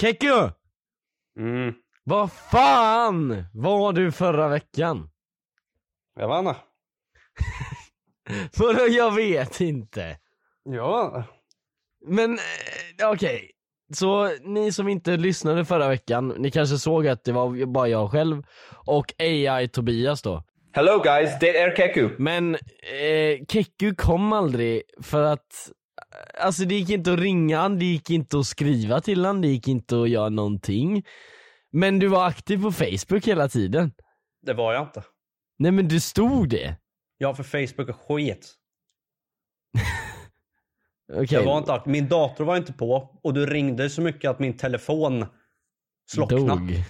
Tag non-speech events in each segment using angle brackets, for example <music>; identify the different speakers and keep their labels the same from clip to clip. Speaker 1: Keku!
Speaker 2: Mm,
Speaker 1: Vad fan var du förra veckan?
Speaker 2: jag vann.
Speaker 1: För jag vet inte.
Speaker 2: Ja.
Speaker 1: Men eh, okej. Så ni som inte lyssnade förra veckan, ni kanske såg att det var bara jag själv och AI Tobias då.
Speaker 2: Hello guys, det är Keku.
Speaker 1: Men eh, Keku kom aldrig för att Alltså det gick inte att ringa han, det gick inte att skriva till han, det gick inte att göra någonting. Men du var aktiv på Facebook hela tiden.
Speaker 2: Det var jag inte.
Speaker 1: Nej men du stod det.
Speaker 2: Ja, för Facebook är skit.
Speaker 1: Okej.
Speaker 2: Jag var inte akt- Min dator var inte på och du ringde så mycket att min telefon slocknade.
Speaker 1: Dog.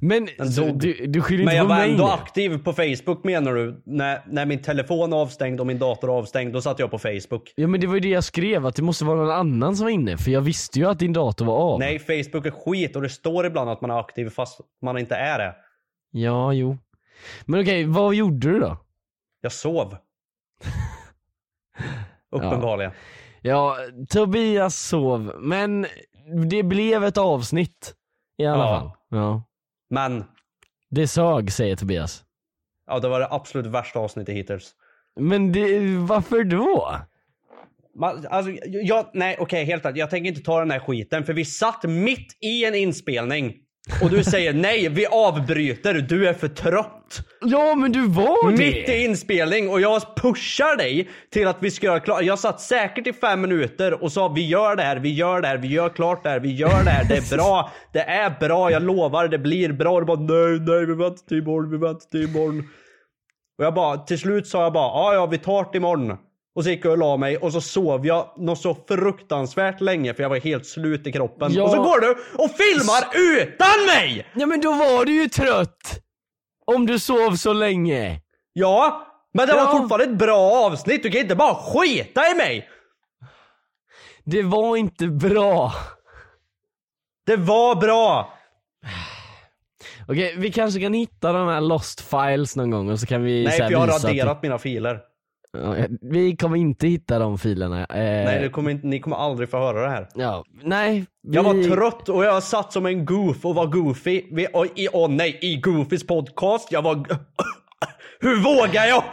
Speaker 1: Men
Speaker 2: Den
Speaker 1: så
Speaker 2: dog.
Speaker 1: Du, du skyller
Speaker 2: Men
Speaker 1: inte
Speaker 2: jag
Speaker 1: på
Speaker 2: var
Speaker 1: mig
Speaker 2: ändå
Speaker 1: nu.
Speaker 2: aktiv på Facebook menar du? När, när min telefon var avstängd och min dator var avstängd, då satt jag på Facebook.
Speaker 1: Ja men det var ju det jag skrev, att det måste vara någon annan som var inne. För jag visste ju att din dator var av.
Speaker 2: Nej, Facebook är skit och det står ibland att man är aktiv fast man inte är det.
Speaker 1: Ja, jo. Men okej, vad gjorde du då?
Speaker 2: Jag <laughs> sov. Uppenbarligen.
Speaker 1: Ja, Tobias sov, men det blev ett avsnitt. I alla
Speaker 2: Ja.
Speaker 1: fall. Ja.
Speaker 2: Men,
Speaker 1: Det sög, säger Tobias.
Speaker 2: ja det var det absolut värsta avsnittet hittills.
Speaker 1: Men det, varför då?
Speaker 2: Man, alltså, jag, nej okej, helt ärligt. Jag tänker inte ta den här skiten för vi satt mitt i en inspelning och du säger <laughs> nej, vi avbryter, du är för trött.
Speaker 1: Ja men du var
Speaker 2: Mitt
Speaker 1: det!
Speaker 2: i inspelning och jag pushar dig till att vi ska göra klart. Jag satt säkert i fem minuter och sa vi gör det här, vi gör det här, vi gör klart det här, vi gör det här,
Speaker 1: <laughs>
Speaker 2: det är bra, det är bra, jag lovar, det blir bra. Och du bara nej, nej, vi väntar till imorgon, vi väntar till imorgon. Och jag bara, till slut sa jag bara ja, ja, vi tar det imorgon. Och så gick jag och la mig och så sov jag något så fruktansvärt länge för jag var helt slut i kroppen.
Speaker 1: Ja.
Speaker 2: Och så går du och filmar utan mig!
Speaker 1: Ja men då var du ju trött! Om du sov så länge.
Speaker 2: Ja, men det
Speaker 1: Ja.
Speaker 2: var fortfarande ett bra avsnitt. Du kan inte bara skita i mig.
Speaker 1: Det var inte bra.
Speaker 2: Det var bra.
Speaker 1: Okej, vi kanske kan hitta de här lost files någon gång och så kan vi
Speaker 2: Nej,
Speaker 1: så här
Speaker 2: för jag har
Speaker 1: visa att-
Speaker 2: raderat mina filer.
Speaker 1: Ja, Vi kommer inte hitta de filerna. Eh,
Speaker 2: Nej, det kommer inte, ni kommer aldrig få höra det här.
Speaker 1: Ja, nej. Vi...
Speaker 2: Jag var trött och jag satt som en goof och var goofy. Vi, och, i, åh nej, i Goofys podcast. Jag var... <laughs> Hur vågar jag?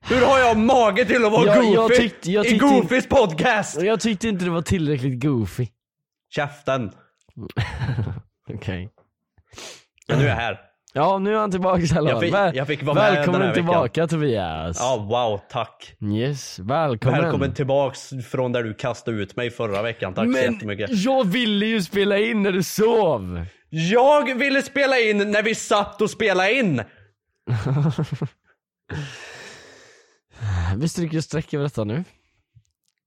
Speaker 2: Hur har jag mage till att vara
Speaker 1: Jag-
Speaker 2: goofy
Speaker 1: jag tyckte- jag tyckte
Speaker 2: i Goofys podcast?
Speaker 1: Jag tyckte inte det var tillräckligt goofy.
Speaker 2: Käften.
Speaker 1: Okej.
Speaker 2: Men nu är jag här.
Speaker 1: Ja, nu är han tillbaka i alla
Speaker 2: Jag fick-
Speaker 1: Väl-
Speaker 2: jag fick vara med
Speaker 1: Välkommen
Speaker 2: den här
Speaker 1: tillbaka Tobias.
Speaker 2: Ja, wow, tack.
Speaker 1: Yes, välkommen.
Speaker 2: Välkommen tillbaks från där du kastade ut mig förra veckan. Tack så
Speaker 1: Men
Speaker 2: jättemycket.
Speaker 1: jag ville ju spela in när du sov.
Speaker 2: Jag ville spela in när vi satt och spelade in!
Speaker 1: Vi stryker och sträcker detta nu.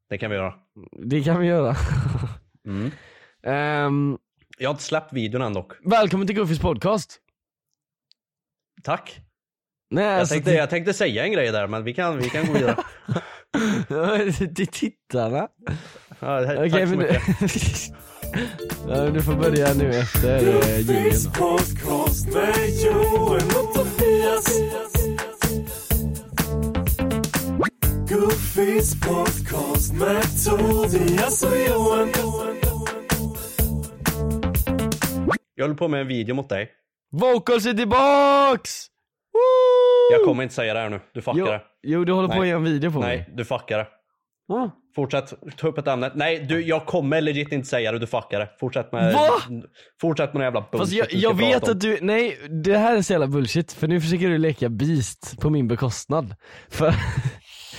Speaker 2: Det kan vi göra.
Speaker 1: Det kan vi göra.
Speaker 2: Mm.
Speaker 1: Ehm,
Speaker 2: Jag har inte släppt videon än dock.
Speaker 1: välkommen till Goofys podcast.
Speaker 2: Tack.
Speaker 1: Nej,
Speaker 2: Jag
Speaker 1: alltså
Speaker 2: tänkte,
Speaker 1: det- <laughs>
Speaker 2: jag tänkte säga en grej där men vi kan, vi kan gå vidare.
Speaker 1: Till tittarna.
Speaker 2: Ja, det här-
Speaker 1: Okej
Speaker 2: tack så
Speaker 1: men du...
Speaker 2: mycket.
Speaker 1: <laughs> ja, men du får börja nu efter eh, jingeln.
Speaker 2: Jag håller på med en video mot dig.
Speaker 1: Vocals är tillbaks! Woo!
Speaker 2: Jag kommer inte säga det här nu. Du fuckar
Speaker 1: Jo,
Speaker 2: det.
Speaker 1: jo du håller på att
Speaker 2: Nej.
Speaker 1: göra en video på
Speaker 2: Nej,
Speaker 1: mig.
Speaker 2: du fuckar det.
Speaker 1: Va?
Speaker 2: Fortsätt, ta upp ett ämne. Nej, du, jag kommer legit inte säga det. Du fuckar det. Fortsätt med...
Speaker 1: Va?
Speaker 2: Fortsätt med den jävla bullshit
Speaker 1: Fast jag,
Speaker 2: du ska
Speaker 1: jag vet
Speaker 2: prata om.
Speaker 1: att du, nej det här är så jävla bullshit för nu försöker du leka beast på min bekostnad. För,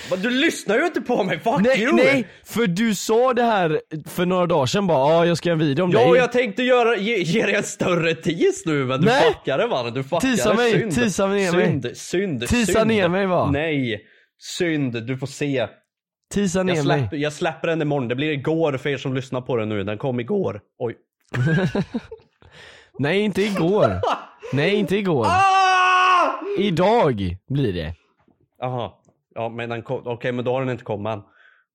Speaker 2: Men du lyssnar ju inte på mig,
Speaker 1: <laughs>
Speaker 2: fuck
Speaker 1: nej,
Speaker 2: you!
Speaker 1: nej, för du sa det här för några dagar sedan bara ja jag ska göra en video om
Speaker 2: Ja,
Speaker 1: dig.
Speaker 2: och jag tänkte göra, ge, ge dig en större tease nu men du
Speaker 1: Nej.
Speaker 2: fuckar det mannen, du fuckar
Speaker 1: Tisa
Speaker 2: det.
Speaker 1: mig,
Speaker 2: synd.
Speaker 1: tisa ner mig.
Speaker 2: Synd, synd,
Speaker 1: Tisa
Speaker 2: synd.
Speaker 1: ner mig, va?
Speaker 2: Nej, synd, du får se.
Speaker 1: Tisa ner
Speaker 2: Jag,
Speaker 1: mig.
Speaker 2: släpp, jag släpper den imorgon, det blir igår för er som lyssnar på den nu, den kom igår. Oj.
Speaker 1: Nej inte igår.
Speaker 2: <laughs>
Speaker 1: nej inte igår.
Speaker 2: Ah!
Speaker 1: Idag blir det. <laughs>
Speaker 2: Aha. Ja men den kom, okej men då har den inte kommit än.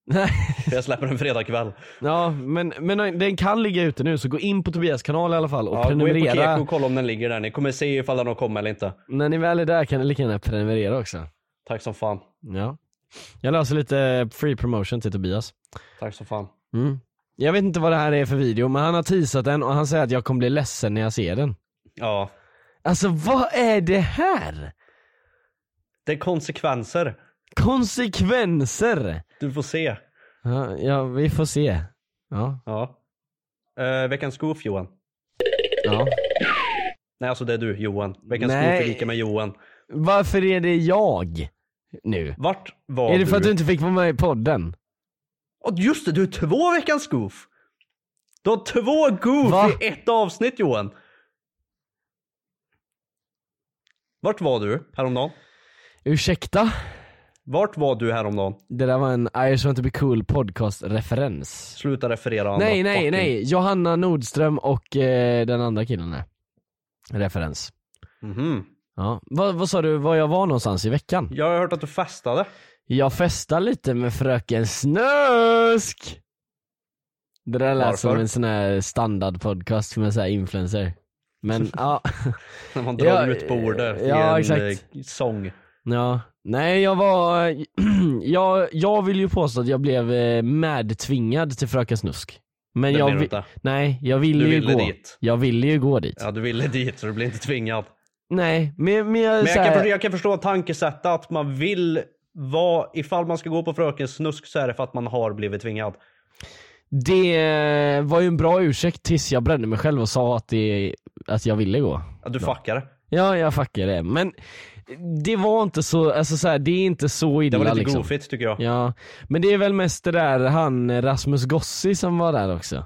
Speaker 1: Nej.
Speaker 2: Jag släpper den fredag kväll.
Speaker 1: Ja men, men den kan ligga ute nu så gå in på Tobias kanal i alla fall och
Speaker 2: Ja, gå in på Keko
Speaker 1: prenumerera.
Speaker 2: och kolla om den ligger där, ni kommer se ifall den har kommit eller inte.
Speaker 1: När ni väl är där kan ni lika gärna prenumerera också.
Speaker 2: Tack som fan.
Speaker 1: Ja. Jag löser lite free promotion till Tobias.
Speaker 2: Tack som fan.
Speaker 1: Mm. Jag vet inte vad det här är för video men han har teasat den och han säger att jag kommer bli ledsen när jag ser den.
Speaker 2: Ja.
Speaker 1: Alltså vad är det här?
Speaker 2: Det är konsekvenser.
Speaker 1: Konsekvenser!
Speaker 2: Du får se.
Speaker 1: Ja, ja vi får se. Ja,
Speaker 2: Ja. Eh, veckans goof Johan.
Speaker 1: ja.
Speaker 2: Nej alltså det är du Johan. Veckans
Speaker 1: Nej.
Speaker 2: goof är lika med Johan.
Speaker 1: Varför är det jag nu?
Speaker 2: Vart var
Speaker 1: är det
Speaker 2: du?
Speaker 1: för att du inte fick vara med i podden?
Speaker 2: Åh, just det, du är två veckans goof! Du har två goof
Speaker 1: Va?
Speaker 2: i ett avsnitt Johan. Vart var du häromdagen?
Speaker 1: Ursäkta?
Speaker 2: Vart var du häromdagen?
Speaker 1: Det där var en I just want to be cool podcast referens.
Speaker 2: Sluta referera andra
Speaker 1: Nej nej
Speaker 2: fucking-
Speaker 1: nej, Johanna Nordström och eh, den andra killen där. Referens.
Speaker 2: Mhm.
Speaker 1: Ja. Vad, vad sa du, var jag var någonstans i veckan?
Speaker 2: Jag har hört att du festade.
Speaker 1: Jag festar lite med fröken Snösk! Det där lät
Speaker 2: Varför?
Speaker 1: som en sån här standardpodcast med så här influencer.
Speaker 2: <laughs>
Speaker 1: Men ja,
Speaker 2: När man drar
Speaker 1: Ja,
Speaker 2: ut på ordet i
Speaker 1: ja,
Speaker 2: en
Speaker 1: exakt.
Speaker 2: eh, sång.
Speaker 1: ja. Nej jag var, <clears throat> jag, jag vill ju påstå att jag blev eh, medtvingad till fröken Snusk. Men
Speaker 2: Det
Speaker 1: jag,
Speaker 2: blir du
Speaker 1: vi-
Speaker 2: inte.
Speaker 1: nej jag ville
Speaker 2: Du
Speaker 1: ju
Speaker 2: ville
Speaker 1: gå.
Speaker 2: dit.
Speaker 1: Jag ville ju gå dit.
Speaker 2: Ja, du ville dit så du blir inte tvingad.
Speaker 1: Nej men, men jag,
Speaker 2: Men
Speaker 1: så
Speaker 2: jag kan,
Speaker 1: här-
Speaker 2: förstå, jag kan förstå tankesättet att man vill vara, ifall man ska gå på Fröken Snusk så är det för att man har blivit tvingad.
Speaker 1: Det eh, var ju en bra ursäkt tills jag brände mig själv och sa att, det, att jag ville gå.
Speaker 2: Ja, Du fuckar det.
Speaker 1: Ja, jag fuckar det. Men det var inte så, alltså så här, det är inte så illa
Speaker 2: Det var lite
Speaker 1: liksom.
Speaker 2: goofigt tycker jag.
Speaker 1: Ja, men det är väl mest det där han Rasmus Gossi som var där också.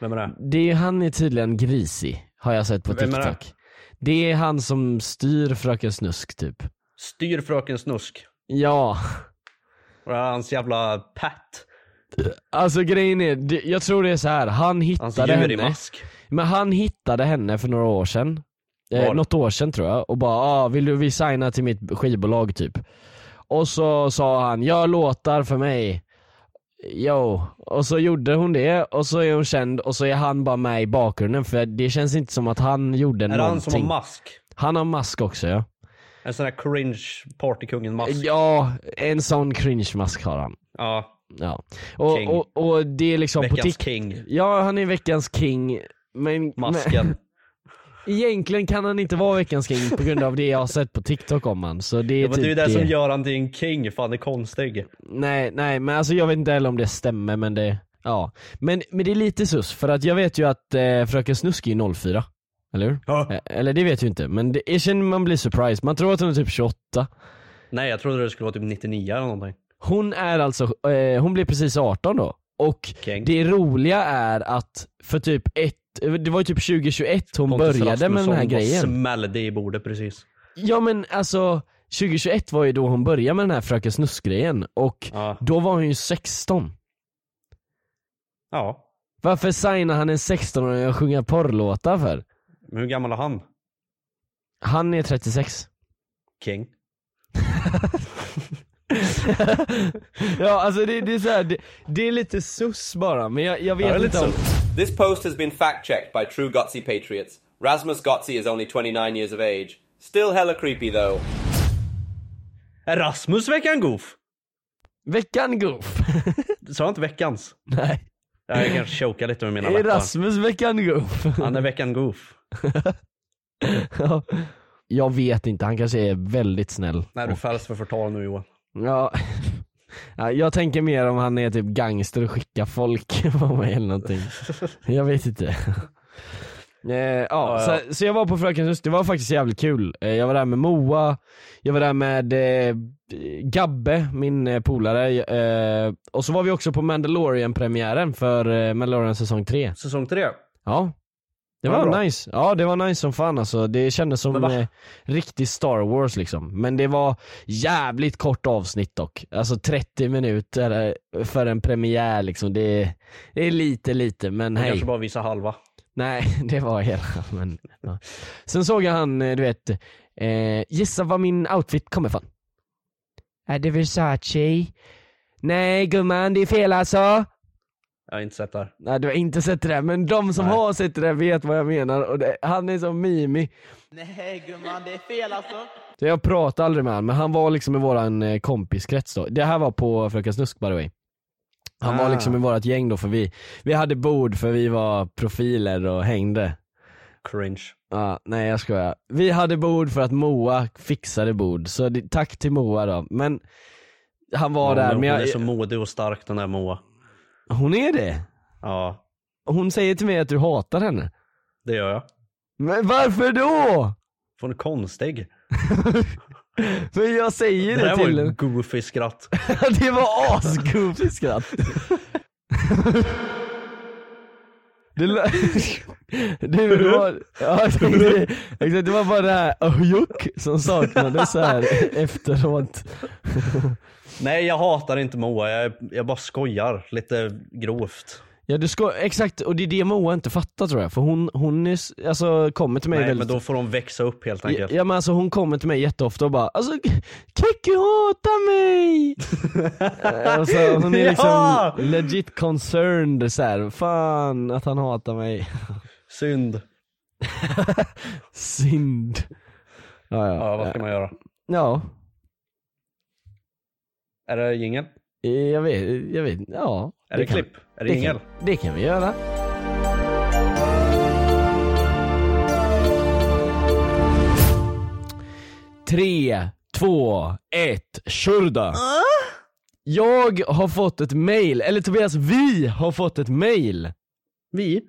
Speaker 2: Vem är det?
Speaker 1: Det är, han är tydligen grisig, har jag sett på
Speaker 2: Vem är det?
Speaker 1: TikTok. Det är han som styr Fröken Snusk typ.
Speaker 2: Styr Fröken Snusk.
Speaker 1: Ja,
Speaker 2: Och det är hans jävla pet.
Speaker 1: alltså grejen är, det- jag tror det är så här. han
Speaker 2: Hans
Speaker 1: hittade
Speaker 2: djur i
Speaker 1: henne.
Speaker 2: mask.
Speaker 1: Men han hittade henne för några år sedan. Eh,
Speaker 2: Var?
Speaker 1: något år sedan tror jag och bara ah, vill du vi signa till mitt skivbolag typ? Och så sa han gör låtar för mig. Jo, och så gjorde hon det och så är hon känd och så är han bara med i bakgrunden för det känns inte som att han gjorde
Speaker 2: Är det han som har
Speaker 1: någonting.
Speaker 2: mask?
Speaker 1: han har mask också ja.
Speaker 2: En sån här cringe partykungen-mask. Ja.
Speaker 1: Ja, en sån cringe mask har han. Ja. Och,
Speaker 2: King.
Speaker 1: och, och det är liksom på
Speaker 2: Veckans
Speaker 1: TikTok.
Speaker 2: king.
Speaker 1: Ja, han är veckans king. Men, <laughs> men,
Speaker 2: Masken.
Speaker 1: Egentligen kan han inte vara veckans king på grund av det jag har sett på TikTok om han. Så det är
Speaker 2: Ja, men
Speaker 1: typ
Speaker 2: det är ju det som gör han till en king, för han är konstig.
Speaker 1: Nej, nej men alltså jag vet inte heller om det stämmer men det, ja. Men, men det är lite sus för att jag vet ju att eh, Fröken Snusk är 04. Eller hur?
Speaker 2: Ja.
Speaker 1: Eh, Eller det vet jag inte men det, jag känner man blir surprised. Man tror att hon är typ 28.
Speaker 2: Nej, jag trodde det skulle vara typ 99 eller någonting.
Speaker 1: Hon är alltså, eh, hon blir precis 18 då. Och
Speaker 2: King.
Speaker 1: det roliga är att för typ ett, det var ju typ 2021 hon
Speaker 2: Pontus
Speaker 1: började med den här
Speaker 2: Rasmusson bara
Speaker 1: grejen.
Speaker 2: smällde i bordet precis.
Speaker 1: Ja men alltså 2021 var ju då hon började med den här Fröken Snusk-grejen och
Speaker 2: Ja.
Speaker 1: då var hon ju 16.
Speaker 2: Ja.
Speaker 1: Varför signar han en 16-åring och sjunger porrlåtar för?
Speaker 2: Men hur gammal är han?
Speaker 1: Han är 36.
Speaker 2: King.
Speaker 1: ja alltså det, det är så här, det, det är lite sus bara men jag, jag vet
Speaker 2: Ja, det är
Speaker 1: inte
Speaker 2: lite
Speaker 1: om...
Speaker 3: This post has been fact checked by true Gutsy Patriots. Rasmus Gutsy is only 29 years of age. Still hella creepy though.
Speaker 2: Är Rasmus veckan goof?
Speaker 1: Veckan goof.
Speaker 2: Sa jag inte veckans?
Speaker 1: Nej.
Speaker 2: Ja, Jag kanske chokar lite
Speaker 1: <laughs>
Speaker 2: med mina
Speaker 1: Är
Speaker 2: läppar.
Speaker 1: Rasmus veckan goof?
Speaker 2: Han är veckan goof.
Speaker 1: Ja. jag vet inte, han kanske är väldigt snäll.
Speaker 2: Nej du fälls för förtal nu Johan.
Speaker 1: Ja. <laughs> Ja, Jag tänker mer om han är typ gangster och skickar folk <laughs> på mig eller någonting. Jag vet inte. Eh, ja,
Speaker 2: ja.
Speaker 1: Så, så jag var på Frökens hus, det var faktiskt jävligt kul. Eh, jag var där med Moa, jag var där med eh, Gabbe, min eh, polare. Eh, och så var vi också på Mandalorian-premiären för eh, Mandalorian säsong 3.
Speaker 2: Säsong 3.
Speaker 1: Ja. Det
Speaker 2: Var
Speaker 1: var,
Speaker 2: det bra?
Speaker 1: nice. Ja det var nice som fan alltså. Det kändes som
Speaker 2: Men va?
Speaker 1: eh, riktig Star Wars liksom. Men det var jävligt kort avsnitt dock. Alltså 30 minuter eh, för en premiär liksom. Det, det är lite lite men hej.
Speaker 2: Kanske bara visa halva.
Speaker 1: Nej <laughs> det var hela. Men, ja. Sen såg jag han, eh, du vet, eh, gissa var min outfit kommer ifrån? Är det Versace? Nej gumman det är fel alltså.
Speaker 2: Jag har inte sett det här.
Speaker 1: Nej du har inte sett det där, men de som har sett det där vet vad jag menar och det, han är som Mimi.
Speaker 4: Nej gumman, det är fel alltså.
Speaker 1: Så jag pratade aldrig med han, men han var liksom i våran eh, kompiskrets då. Det här var på Fröken Snusk by the way. Han var
Speaker 2: Ah.
Speaker 1: liksom i vårat gäng då för vi, vi hade bord för vi var profiler och hängde.
Speaker 2: Cringe.
Speaker 1: Ja, nej jag skojar. Vi hade bord för att Moa fixade bord, så det, tack till Moa då. Men han var
Speaker 2: Hon-
Speaker 1: där,
Speaker 2: hon
Speaker 1: men jag,
Speaker 2: är så modig och stark den där Moa.
Speaker 1: hon är det.
Speaker 2: Ja,
Speaker 1: Hon säger till mig att du hatar henne.
Speaker 2: det gör jag.
Speaker 1: Men varför då?
Speaker 2: Får en konstig.
Speaker 1: För jag säger
Speaker 2: Det
Speaker 1: det,
Speaker 2: där var
Speaker 1: till <laughs>
Speaker 2: ju
Speaker 1: henne.
Speaker 2: goofy skratt.
Speaker 1: det var
Speaker 2: <laughs>
Speaker 1: asgoofigt skratt. Det lö- <laughs> du, det var, ja, exakt, exakt, det var bara det här ahujuk som saknades så här <laughs> efteråt.
Speaker 2: Nej jag hatar inte Moa, jag, jag bara skojar lite grovt.
Speaker 1: Ja du ska, exakt, och det är det Moa inte fattar tror jag, för hon, hon är, s- alltså, kommer till mig
Speaker 2: Nej
Speaker 1: väldigt
Speaker 2: men då får de växa upp helt enkelt.
Speaker 1: Ja men alltså hon kommer till mig jätteofta och bara alltså Kekki hatar mig!
Speaker 2: <laughs>
Speaker 1: Eh, och så, hon är liksom
Speaker 2: Ja!
Speaker 1: legit concerned så här. fan att han hatar mig.
Speaker 2: Synd.
Speaker 1: Synd. Ja ja.
Speaker 2: Ja vad ska man göra?
Speaker 1: ja.
Speaker 2: Är det jingel?
Speaker 1: Eh, Jag vet, jag vet, ja.
Speaker 2: Är det,
Speaker 1: kan-
Speaker 2: klipp? Är det jingel?
Speaker 1: kan, det kan vi göra. Tre, två, ett, körda.
Speaker 2: Ah?
Speaker 1: Jag har fått ett mail, eller Tobias, vi har fått ett mail.
Speaker 2: Vi?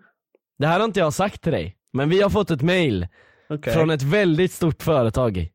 Speaker 1: Det här har inte jag sagt till dig, men vi har fått ett mail
Speaker 2: Okej.
Speaker 1: från ett väldigt stort företag.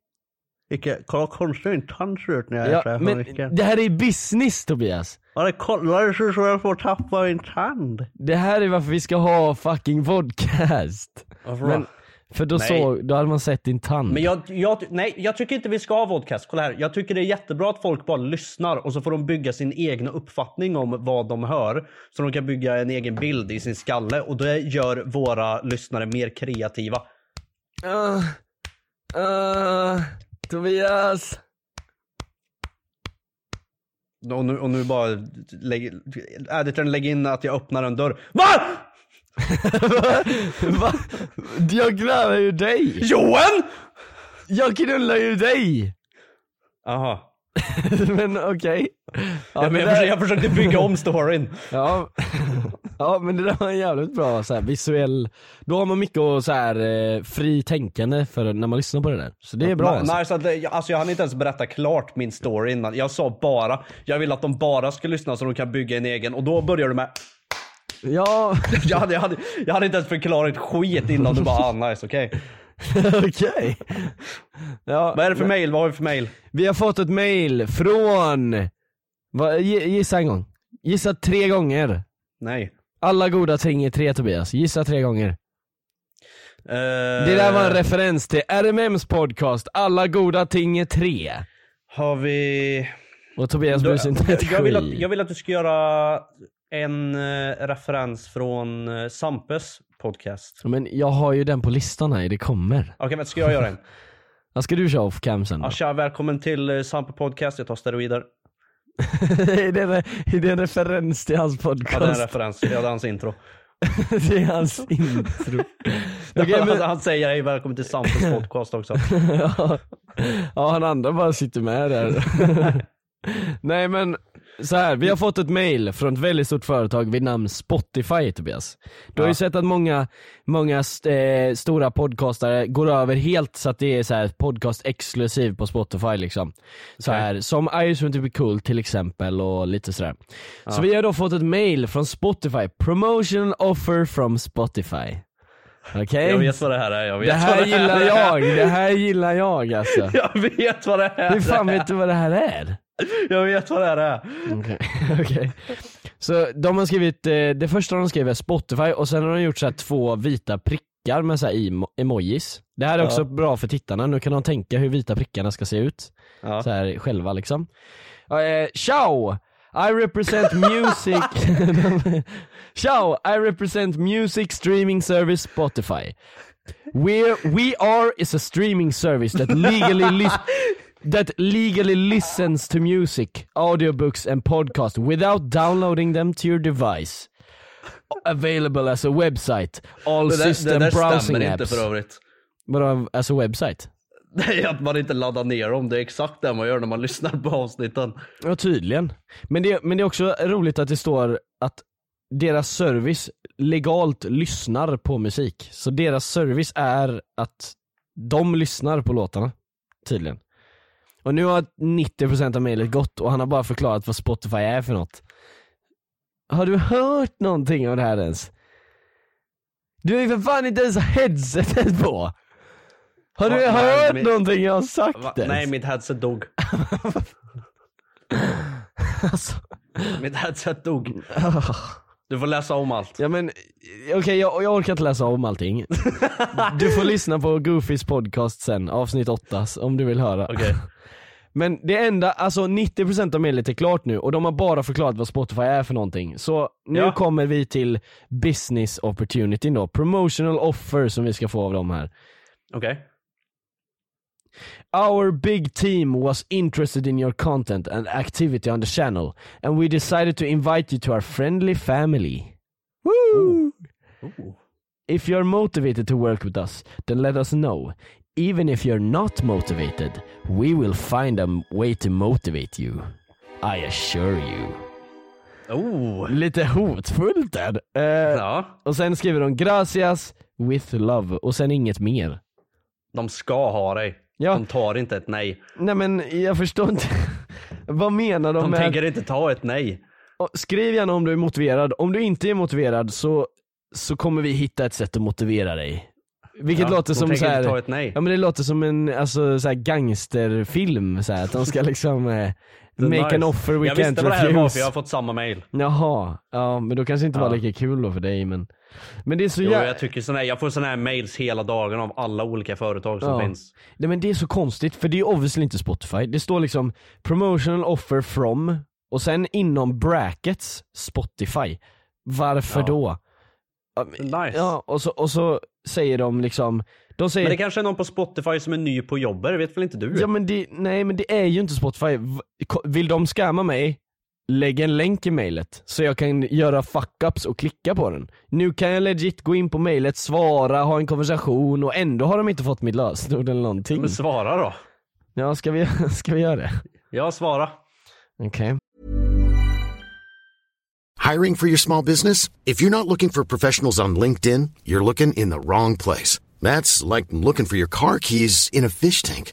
Speaker 2: Vilken kolla konstig min tand ser ut när jag
Speaker 1: Ja, men det här är business Tobias.
Speaker 2: Ja det kollar det ser ut som jag får tappa min tand.
Speaker 1: Det här är varför vi ska ha fucking vodcast.
Speaker 2: Varför
Speaker 1: Men,
Speaker 2: då?
Speaker 1: för då,
Speaker 2: Nej.
Speaker 1: såg, då hade man sett din tand.
Speaker 2: Men jag, jag, nej, jag tycker inte vi ska ha vodcast. Kolla här. Jag tycker det är jättebra att folk bara lyssnar och så får de bygga sin egna uppfattning om vad de hör. Så de kan bygga en egen bild i sin skalle och det gör våra lyssnare mer kreativa.
Speaker 1: Ah, ah, Tobias.
Speaker 2: Och nu, och nu bara lägg, editorn lägg in att jag öppnar en dörr. VA?
Speaker 1: <laughs> Va? Jag knullar ju dig.
Speaker 2: Johan?
Speaker 1: Jag knullar ju dig. <laughs>
Speaker 2: Jaha.
Speaker 1: Men okej. Ja,
Speaker 2: Ja,
Speaker 1: det
Speaker 2: men jag,
Speaker 1: där-
Speaker 2: försökte, jag försökte bygga om storyn.
Speaker 1: Ja. ja men det där var en jävligt bra så här, visuell, då har man mycket och så här, eh, fri tänkande för när man lyssnar på det där. Så det är bra alltså.
Speaker 2: Nej, så att, det- alltså jag hann inte ens berätta klart min story innan. Jag sa bara, jag vill att de bara ska lyssna så de kan bygga en egen. Och då börjar du med <laughs>
Speaker 1: Ja, <laughs>
Speaker 2: Jag hade, jag, hade, jag hade inte ens förklarat skit innan du bara ah, nice, okej.
Speaker 1: okej. Ja,
Speaker 2: Vad är det för mail? Vad har vi för mail?
Speaker 1: Vi har fått ett mail från, Va, gi- gissa en gång. Gissa tre gånger.
Speaker 2: Nej.
Speaker 1: Alla goda ting är tre Tobias, gissa tre gånger.
Speaker 2: Eh,
Speaker 1: Det där var en referens till RMMs podcast, alla goda ting är tre.
Speaker 2: Har vi...
Speaker 1: Och Tobias bryr sig inte ett
Speaker 2: jag, vill att,
Speaker 1: skit.
Speaker 2: jag vill att du ska göra en eh, referens från eh, Sampes podcast.
Speaker 1: Men jag har ju den på listan här, det kommer. <laughs>
Speaker 2: Okej, men ska jag göra en?
Speaker 1: Ja, ska du köra off cam sen då? <laughs>
Speaker 2: Ja, tja, välkommen till eh, Sampo podcast, jag tar steroider.
Speaker 1: är, det, en- är det en referens till hans
Speaker 2: Ja, det är en
Speaker 1: podcast?
Speaker 2: referens, ja, det är hans intro.
Speaker 1: <laughs> det är hans
Speaker 2: <laughs>
Speaker 1: intro. Okej,
Speaker 2: han,
Speaker 1: men,
Speaker 2: han säger hej välkommen till Sampos
Speaker 1: <laughs>
Speaker 2: podcast också.
Speaker 1: ja. ja, han andra bara sitter med där. <laughs> Nej men, så här, vi har fått ett mail från ett väldigt stort företag vid namn Spotify Tobias. Du har ju sett att många, många st- eh, stora podcastare går över helt så att det är så här podcast exklusiv på Spotify liksom. Så här, som Irish Won't Be Cool till exempel och lite sådär. Så vi har då fått ett mail från Spotify, promotion offer from Spotify. Okej?
Speaker 2: Jag vet vad det här är, jag vet
Speaker 1: Det här
Speaker 2: vad det
Speaker 1: gillar
Speaker 2: här
Speaker 1: jag,
Speaker 2: Är.
Speaker 1: det här gillar jag alltså.
Speaker 2: <laughs> Jag vet vad det här
Speaker 1: Hur fan
Speaker 2: är.
Speaker 1: vet du vad det här är?
Speaker 2: Jag vet vad det här är.
Speaker 1: Okej. <laughs> okej. Så de har skrivit, eh, det första de skrev är Spotify och sen har de gjort så här två vita prickar med så här emo- emojis. Det här är också bra för tittarna, nu kan de tänka hur vita prickarna ska se ut.
Speaker 2: Ja.
Speaker 1: Så här själva liksom. Eh, ciao! I represent music <laughs> Ciao! I represent music streaming service Spotify. We're, we are is a streaming service that legally
Speaker 2: <laughs>
Speaker 1: lis- that legally listens to music, audiobooks and podcasts without downloading them to your device. Available as a website, all
Speaker 2: Det där, det
Speaker 1: system
Speaker 2: där
Speaker 1: browsing
Speaker 2: stämmer
Speaker 1: apps.
Speaker 2: inte för övrigt. <laughs>
Speaker 1: Vadå, alltså website?
Speaker 2: Det är att man inte laddar ner dem, det är exakt det man gör när man <laughs> lyssnar på avsnitten.
Speaker 1: Ja tydligen. Men det, men det är också roligt att det står att deras service legalt lyssnar på musik. Så deras service är att de lyssnar på låtarna. Tydligen. Och nu har 90% av mejlet gått och han har bara förklarat vad Spotify är för något. Har du hört någonting om det här ens? Du har ju för fan inte ens headsetet på! Har du
Speaker 2: Va- nej,
Speaker 1: hört
Speaker 2: men-
Speaker 1: någonting jag har sagt
Speaker 2: Va?
Speaker 1: ens?
Speaker 2: Nej, mitt headset dog.
Speaker 1: <laughs> Alltså.
Speaker 2: Mitt headset dog.
Speaker 1: <laughs>
Speaker 2: Du får läsa om allt.
Speaker 1: Ja men, eh, okej jag, jag orkar inte läsa om
Speaker 2: <laughs>
Speaker 1: allting. Du får lyssna på Goofys podcast sen, avsnitt 8, om du vill höra.
Speaker 2: Okej.
Speaker 1: Men det enda, alltså 90% av mejlet är klart nu och de har bara förklarat vad Spotify är för någonting. Så nu
Speaker 2: Ja.
Speaker 1: kommer vi till business opportunity då, promotional offer som vi ska få av dem här.
Speaker 2: Okej.
Speaker 1: Our big team was interested in your content and activity on the channel and we decided to invite you to our friendly family. Woo! If you're motivated to work with us, then let us know. Even if you're not motivated, we will find a m- way to motivate you. I assure you.
Speaker 2: Oh.
Speaker 1: Lite hotfullt där. Eh,
Speaker 2: Ja.
Speaker 1: Och sen skriver de 'Gracias with love' och sen inget mer.
Speaker 2: De ska ha dig.
Speaker 1: Ja.
Speaker 2: De tar inte ett nej.
Speaker 1: Nej men jag förstår inte. <laughs> Vad menar de,
Speaker 2: De
Speaker 1: med att-
Speaker 2: tänker inte ta ett nej.
Speaker 1: Och Skriv gärna om du är motiverad. Om du inte är motiverad så, så kommer vi hitta ett sätt att motivera dig. Vilket
Speaker 2: Ja,
Speaker 1: låter
Speaker 2: de
Speaker 1: som
Speaker 2: tänker
Speaker 1: så här,
Speaker 2: inte ta ett nej.
Speaker 1: Ja men det låter som en alltså, så här gangsterfilm så här, att de ska liksom
Speaker 2: <laughs>
Speaker 1: eh,
Speaker 2: Det är
Speaker 1: make an
Speaker 2: nice.
Speaker 1: offer we
Speaker 2: Jag
Speaker 1: can't
Speaker 2: visste vad det här var
Speaker 1: refuse.
Speaker 2: för jag har fått samma mail.
Speaker 1: Jaha, ja men då kanske inte var
Speaker 2: Ja.
Speaker 1: lika kul då för dig men Men det är så
Speaker 2: Jo,
Speaker 1: jä-
Speaker 2: jag, tycker sån här, jag får såna här mails hela dagen av alla olika företag som
Speaker 1: Ja.
Speaker 2: finns.
Speaker 1: Nej men det är så konstigt, för det är ju obviously inte Spotify. Det står liksom 'promotional offer from' och sen inom brackets Spotify. Varför
Speaker 2: Ja.
Speaker 1: då?
Speaker 2: Nice.
Speaker 1: Ja, och så, och så säger de liksom, de säger
Speaker 2: Men det kanske är någon på Spotify som är ny på jobbet, det vet väl inte du?
Speaker 1: Ja men det, nej men det är ju inte Spotify. V- ko- Vill de skamma mig, lägg en länk i mejlet så jag kan göra fuck-ups och klicka på den. Nu kan jag legit gå in på mejlet, svara, ha en konversation och ändå har de inte fått mitt lösenord eller någonting.
Speaker 2: Men svara då.
Speaker 1: Ja, ska vi, <laughs> ska vi göra det?
Speaker 2: Ja, svara.
Speaker 1: Okej.
Speaker 5: Hiring for your small business? If you're not looking for professionals on LinkedIn, you're looking in the wrong place. That's like looking for your car keys in a fish tank.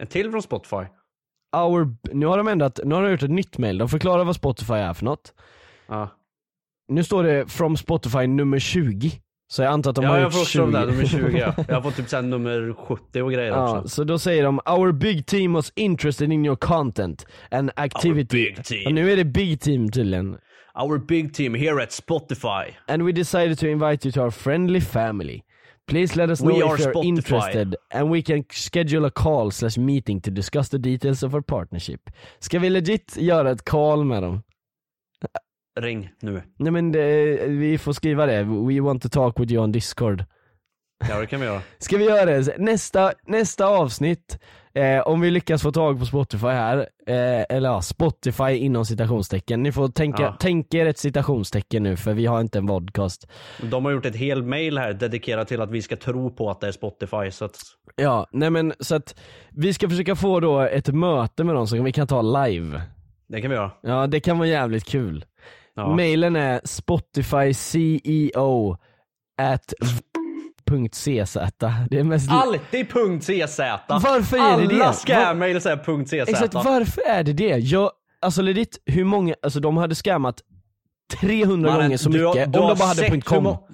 Speaker 2: En till från Spotify.
Speaker 1: Our, nu har de ändrat, nu har de gjort ett nytt mail. De förklarar vad Spotify är för något.
Speaker 2: Ja.
Speaker 1: Nu står det from Spotify nummer 20. Så jag antar att de
Speaker 2: ja,
Speaker 1: har
Speaker 2: jag
Speaker 1: gjort
Speaker 2: får
Speaker 1: 20.
Speaker 2: också de där, de är 20
Speaker 1: <laughs>
Speaker 2: ja. Jag har fått typ sen nummer 70 och grejer
Speaker 1: Ja,
Speaker 2: också.
Speaker 1: så då säger de 'Our big team was interested in your content and activity'
Speaker 2: big team.
Speaker 1: Och nu är det big team tydligen.
Speaker 2: Our big team here at Spotify.
Speaker 1: And we decided to invite you to our friendly family. Please let us know
Speaker 2: We are
Speaker 1: if you're
Speaker 2: Spotify.
Speaker 1: interested and we can schedule a call slash meeting to discuss the details of our partnership. Ska vi legit göra ett call med dem?
Speaker 2: Ring nu.
Speaker 1: Nej men det, vi får skriva det, we want to talk with you on discord.
Speaker 2: Ja det kan vi göra.
Speaker 1: Ska vi göra det? Nästa, nästa avsnitt, eh, om vi lyckas få tag på Spotify här, eh, eller ja, Spotify inom citationstecken. Ni får tänka,
Speaker 2: Ja.
Speaker 1: tänk er ett citationstecken nu för vi har inte en podcast.
Speaker 2: De har gjort ett helt mail här dedikerat till att vi ska tro på att det är Spotify så att...
Speaker 1: Ja, nej men så att vi ska försöka få då ett möte med dem som vi kan ta live.
Speaker 2: Det kan vi göra.
Speaker 1: Ja, det kan vara jävligt kul.
Speaker 2: Ja.
Speaker 1: Mailen är spotifyceo at .cz. Det är mest...
Speaker 2: Alltid .cz!
Speaker 1: Varför är det
Speaker 2: Alla
Speaker 1: det?
Speaker 2: scam-mail säger .cz.
Speaker 1: Exakt, varför är det det? Jag, alltså legit, hur många, alltså de hade skämmat 300
Speaker 2: Mannen,
Speaker 1: gånger så
Speaker 2: du
Speaker 1: mycket
Speaker 2: har-
Speaker 1: om
Speaker 2: du har
Speaker 1: de bara hade
Speaker 2: sett
Speaker 1: punkt .com.
Speaker 2: hur må-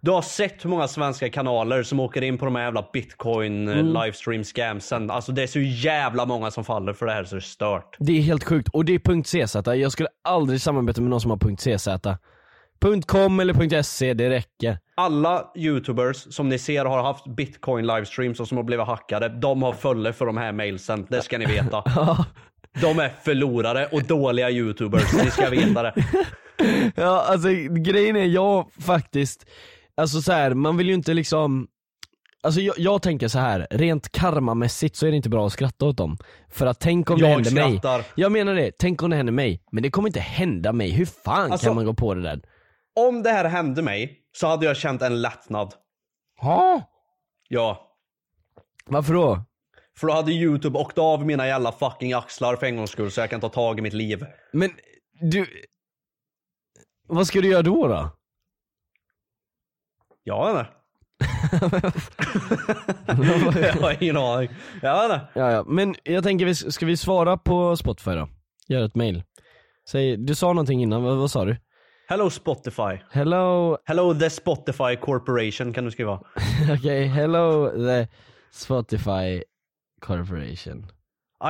Speaker 2: Du har sett hur många svenska kanaler som åker in på de här jävla bitcoin eh,
Speaker 1: Mm.
Speaker 2: livestream scamsen. Alltså det är så jävla många som faller för det här så det är stört.
Speaker 1: Det är helt sjukt, och det är punkt .cz. Jag skulle aldrig samarbeta med någon som har punkt .cz. Punkt .com eller punkt .se, det räcker.
Speaker 2: Alla youtubers som ni ser har haft bitcoin livestreams och som har blivit hackade, de har följt för de här mailsen. Det ska
Speaker 1: <laughs>
Speaker 2: ni veta. De är förlorare och dåliga youtubers, ni ska
Speaker 1: <laughs>
Speaker 2: veta det.
Speaker 1: Ja, alltså grejen är jag faktiskt, alltså så här, man vill ju inte liksom Alltså jag, jag tänker så här rent karmamässigt så är det inte bra att skratta åt dem. För att tänk om det
Speaker 2: Jag
Speaker 1: händer mig.
Speaker 2: skrattar.
Speaker 1: Jag menar det, tänk om det händer mig. Men det kommer inte hända mig, hur fan
Speaker 2: Alltså-
Speaker 1: kan man gå på det där?
Speaker 2: Om det här hände mig så hade jag känt en lättnad.
Speaker 1: Ha?
Speaker 2: Ja.
Speaker 1: Varför då?
Speaker 2: För då hade youtube åkt av mina jävla fucking axlar för en gångs skull så jag kan ta tag i mitt liv.
Speaker 1: Men du... Vad ska du göra då då?
Speaker 2: Jag vet inte. <laughs> jag har ingen aning. Jag vet inte.
Speaker 1: Ja, ja. Men jag tänker, vi- ska vi svara på Spotify då? Gör ett mail. Säg, du sa någonting innan, vad, vad sa du?
Speaker 2: Hello Spotify.
Speaker 1: Hello,
Speaker 2: Hello the Spotify Corporation kan du skriva.
Speaker 1: okej, hello the Spotify Corporation.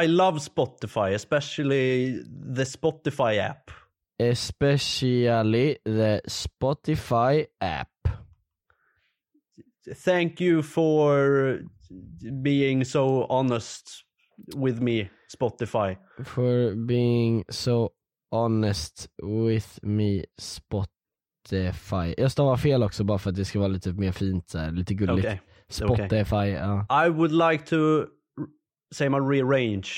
Speaker 2: I love Spotify, especially the Spotify app.
Speaker 1: Especially the Spotify app.
Speaker 2: Thank you for being so honest with me, Spotify.
Speaker 1: For being so honest with me Spotify. Jag stavar fel också bara för att det ska vara lite mer fint så här, lite gulligt.
Speaker 2: Okej,
Speaker 1: Spotify, ja.
Speaker 2: I would like to r- say my rearrange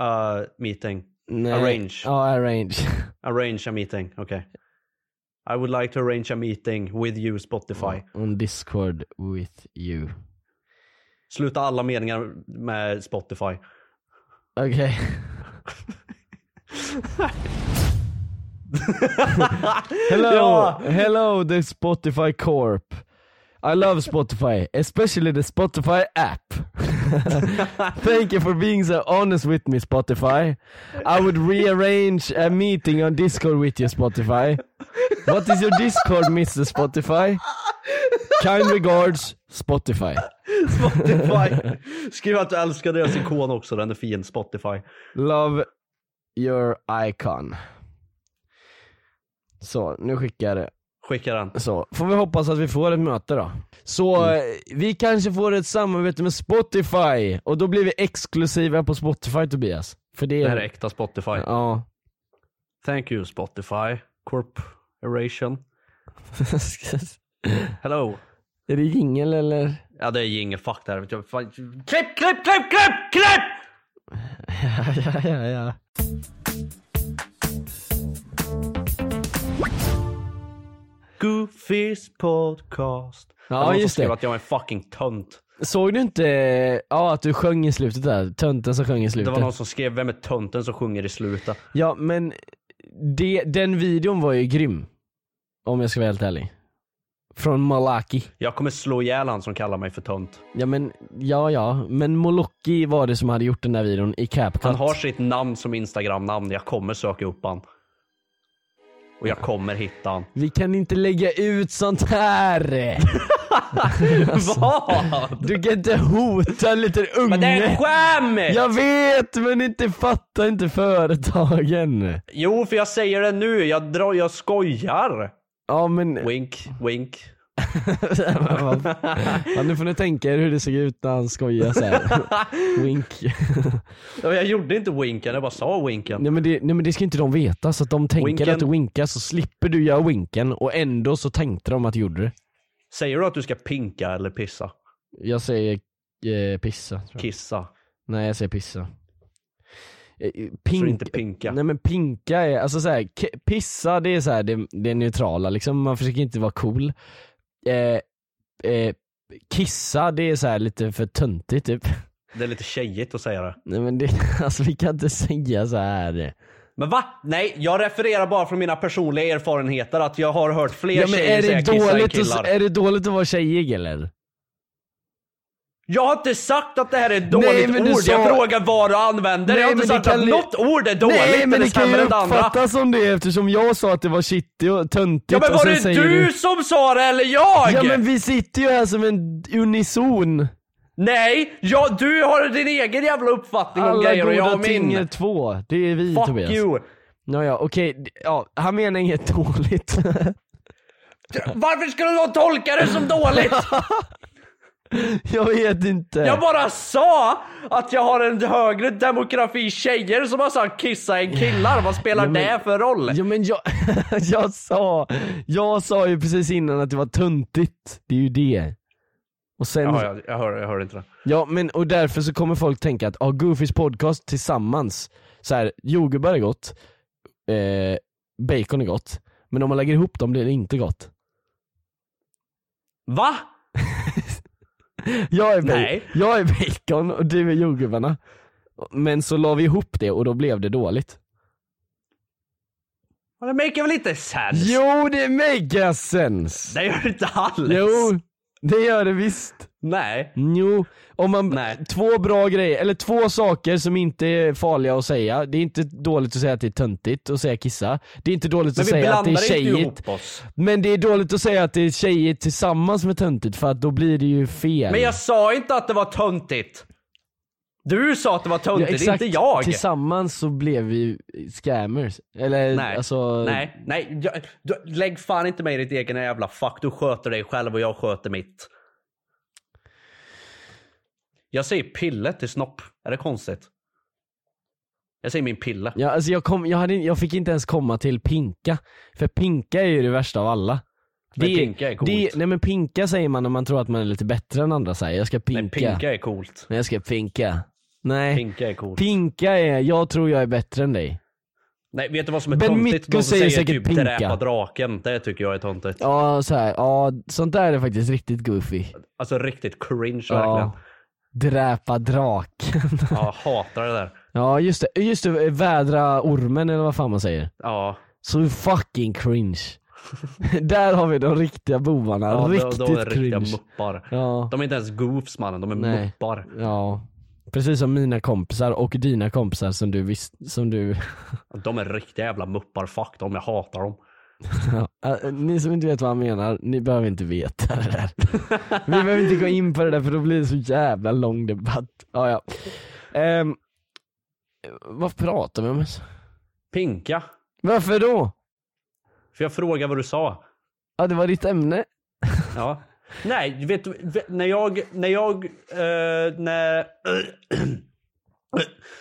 Speaker 2: uh, meeting.
Speaker 1: Nej.
Speaker 2: Arrange.
Speaker 1: Ja, arrange.
Speaker 2: Arrange a meeting, okay. I would like to arrange a meeting with you Spotify.
Speaker 1: <laughs> On Discord with you.
Speaker 2: Sluta alla meningar med Spotify. <laughs>
Speaker 1: Okej. hello,
Speaker 2: Ja.
Speaker 1: hello the Spotify Corp. I love Spotify, especially the Spotify app. <laughs> Thank you for being so honest with me Spotify. I would rearrange a meeting on Discord with you Spotify. What is your Discord Mr Spotify? Kind regards Spotify.
Speaker 2: Spotify. Skriv att du älskar deras ikon också, den är fin Spotify.
Speaker 1: Love your icon. Så, nu skickar jag det.
Speaker 2: Skicka den.
Speaker 1: Så, får vi hoppas att vi får ett möte då. Så, eh, vi kanske får ett samarbete med Spotify och då blir vi exklusiva på Spotify Tobias. För det,
Speaker 2: Det här är äkta Spotify.
Speaker 1: Ja. <laughs>
Speaker 2: Thank you Spotify. Corporation. Hello.
Speaker 1: är det jingel eller?
Speaker 2: <laughs> Ja det är ju inget fuck där. Fan- Klipp, klipp, klipp, klipp, klipp!
Speaker 1: ja, ja, ja, ja.
Speaker 2: Goofys podcast.
Speaker 1: Ja,
Speaker 2: Det var någon som
Speaker 1: just det.
Speaker 2: skrev att jag är en fucking tönt.
Speaker 1: Såg du inte eh, ja, att du sjöng i slutet där? Tönten som sjöng i
Speaker 2: Det
Speaker 1: slutet.
Speaker 2: var någon som skrev, vem är tönten som sjunger i slutet?
Speaker 1: Ja men det, den videon var ju grym. Om jag ska vara helt ärlig. Från Malaki.
Speaker 2: Jag kommer slå ihjäl han som kallar mig för tönt.
Speaker 1: Ja men, ja ja. Men Molocki var det som hade gjort den där videon i CapCut.
Speaker 2: Han har sitt namn som instagramnamn, jag kommer söka upp han. Och jag kommer
Speaker 1: <laughs>
Speaker 2: hitta han.
Speaker 1: Vi kan inte lägga ut sånt här! Alltså.
Speaker 2: <laughs> Vad?
Speaker 1: Du kan inte hota en liten unge!
Speaker 2: Men det är ett skämt!
Speaker 1: Jag vet men inte fattar inte företagen!
Speaker 2: Jo, för jag säger det nu, jag drar, jag skojar.
Speaker 1: Ja men,
Speaker 2: Wink, wink.
Speaker 1: <laughs> ja, nu får ni tänka er hur det såg ut när han skojade
Speaker 2: <laughs>
Speaker 1: såhär. Wink.
Speaker 2: Ja, men Jag gjorde inte winken, jag bara sa winken.
Speaker 1: Nej men, det, nej men det ska inte de veta, så att de tänker
Speaker 2: Winken.
Speaker 1: att du winkar så slipper du göra winken och ändå så tänkte de att du gjorde det.
Speaker 2: Säger du att du ska pinka eller pissa?
Speaker 1: Jag säger eh, pissa. Tror jag.
Speaker 2: Kissa.
Speaker 1: Nej jag säger pissa. Eh, eh,
Speaker 2: Så
Speaker 1: Pink,
Speaker 2: inte pinka.
Speaker 1: Nej men pinka är, alltså såhär, ke- pissa det är såhär det, det är neutrala liksom, man försöker inte vara cool. Eh, eh, kissa det är såhär lite för töntigt typ. <laughs>
Speaker 2: Det är lite tjejigt att säga det.
Speaker 1: Nej men det, <laughs> alltså vi kan inte säga så här.
Speaker 2: Men va? Nej, jag refererar bara från mina personliga erfarenheter att jag har hört fler
Speaker 1: Ja men
Speaker 2: tjejer
Speaker 1: är
Speaker 2: säga
Speaker 1: det,
Speaker 2: kissa än
Speaker 1: dåligt
Speaker 2: killar.
Speaker 1: att, är det dåligt att vara tjejig eller?
Speaker 2: Jag har inte sagt att det här är ett dåligt
Speaker 1: Nej, men du
Speaker 2: ord.
Speaker 1: sa-
Speaker 2: Jag frågar vad du använder.
Speaker 1: Nej,
Speaker 2: jag har inte
Speaker 1: men det
Speaker 2: sagt att
Speaker 1: kan li-
Speaker 2: något ord är dåligt
Speaker 1: Nej men
Speaker 2: eller
Speaker 1: det kan ju
Speaker 2: sämre än det andra.
Speaker 1: uppfattas som det eftersom jag sa att det var shitty och töntigt
Speaker 2: Ja men
Speaker 1: och
Speaker 2: var
Speaker 1: sen
Speaker 2: det
Speaker 1: säger
Speaker 2: du som sa det eller jag?
Speaker 1: Ja men vi sitter ju här som en unison.
Speaker 2: Nej, ja, du har din egen jävla uppfattning om
Speaker 1: Alla
Speaker 2: grejer och jag
Speaker 1: goda
Speaker 2: har
Speaker 1: ting
Speaker 2: min.
Speaker 1: är två. Det är vi
Speaker 2: Fuck
Speaker 1: Tobias.
Speaker 2: you.
Speaker 1: Ja, ja okej, D- ja, han menar inget <laughs> dåligt.
Speaker 2: Varför skulle någon tolka det
Speaker 1: <laughs>
Speaker 2: som dåligt?
Speaker 1: jag vet inte.
Speaker 2: Jag bara sa att jag har en högre demografi tjejer som har sagt kissa än killar. Vad spelar
Speaker 1: Ja, men-
Speaker 2: det för roll?
Speaker 1: Ja men jag, <laughs> jag sa, jag sa ju precis innan att det var töntigt. Det är ju det. Och sen,
Speaker 2: Jaha, jag, jag, hör, jag hör inte det.
Speaker 1: Ja men och därför så kommer folk tänka att ah, Goofys podcast tillsammans, så här, jordgubbar är gott, eh, bacon är gott, men om man lägger ihop dem blir det inte gott.
Speaker 2: Va?
Speaker 1: Jag är, ba-
Speaker 2: Nej.
Speaker 1: jag är bacon och du är jordgubbarna. Men så la vi ihop det och då blev det dåligt.
Speaker 2: Ja, Det maker väl inte sense?
Speaker 1: Jo det mega sense!
Speaker 2: Det gör inte alls.
Speaker 1: Jo, det gör det visst.
Speaker 2: Nej.
Speaker 1: Jo, om man,
Speaker 2: Nej.
Speaker 1: två bra grejer, eller två saker som inte är farliga att säga. Det är inte dåligt att säga att det är töntigt att säga kissa. Det är inte dåligt
Speaker 2: Men
Speaker 1: att
Speaker 2: vi
Speaker 1: säga att det är
Speaker 2: blandar inte
Speaker 1: tjejigt.
Speaker 2: ihop oss.
Speaker 1: Men det är dåligt att säga att det är tjejigt tillsammans med töntigt för att då blir det ju fel.
Speaker 2: Men jag sa inte att det var töntigt. Du sa att det var
Speaker 1: Ja,
Speaker 2: töntigt,
Speaker 1: exakt.
Speaker 2: inte jag.
Speaker 1: Tillsammans så blev vi ju scammers. Eller
Speaker 2: Nej,
Speaker 1: alltså...
Speaker 2: nej, nej. Jag, du, lägg fan inte mig i ditt egna jävla fack. Du sköter dig själv och jag sköter mitt. Jag säger pille till snopp. Är det konstigt? Jag säger min pille.
Speaker 1: Ja, alltså jag, kom, jag, hade, jag fick inte ens komma till pinka. För pinka är ju det värsta av alla.
Speaker 2: Men pinka är coolt.
Speaker 1: det- nej men pinka säger man när man tror att man är lite bättre än andra säger. Jag ska pinka.
Speaker 2: Nej, pinka är coolt.
Speaker 1: Nej, jag ska pinka. Nej.
Speaker 2: Pinka är coolt.
Speaker 1: Pinka är, jag tror jag är bättre än dig.
Speaker 2: Nej, vet du vad som är
Speaker 1: Ben
Speaker 2: töntigt?
Speaker 1: Mitko
Speaker 2: Någon som
Speaker 1: säger
Speaker 2: säger,
Speaker 1: säkert
Speaker 2: typ
Speaker 1: pinka.
Speaker 2: dräpa draken. Det tycker jag är töntigt.
Speaker 1: Ja, så här, ja sånt där är faktiskt riktigt goofy.
Speaker 2: Alltså riktigt cringe verkligen.
Speaker 1: Ja. Dräpa draken.
Speaker 2: Ja, jag hatar det där.
Speaker 1: <laughs> ja just det, just det, vädra ormen eller vad fan man säger.
Speaker 2: Ja,
Speaker 1: Så fucking cringe. <laughs> där har vi de riktiga bovarna,
Speaker 2: ja de-
Speaker 1: riktigt
Speaker 2: de är riktiga
Speaker 1: cringe.
Speaker 2: muppar.
Speaker 1: Ja.
Speaker 2: De är inte ens goofs mannen, de är
Speaker 1: Nej.
Speaker 2: muppar.
Speaker 1: Ja, precis som mina kompisar och dina kompisar som du visst, som du... <laughs>
Speaker 2: De är riktiga jävla muppar, fuck dem, jag hatar dem.
Speaker 1: Ja, eh, ni som inte vet vad han menar, ni behöver inte veta det
Speaker 2: <laughs>
Speaker 1: där. Vi behöver inte gå in på det där för då blir det så jävla lång debatt. Ja, ja. Ehm, vad pratar vi om ens?
Speaker 2: Pinka.
Speaker 1: Varför då?
Speaker 2: För jag frågar vad du sa.
Speaker 1: Ja det var ditt ämne. <laughs>
Speaker 2: Ja. Nej, vet du, vet- när jag, när jag, eh, när, <clears throat>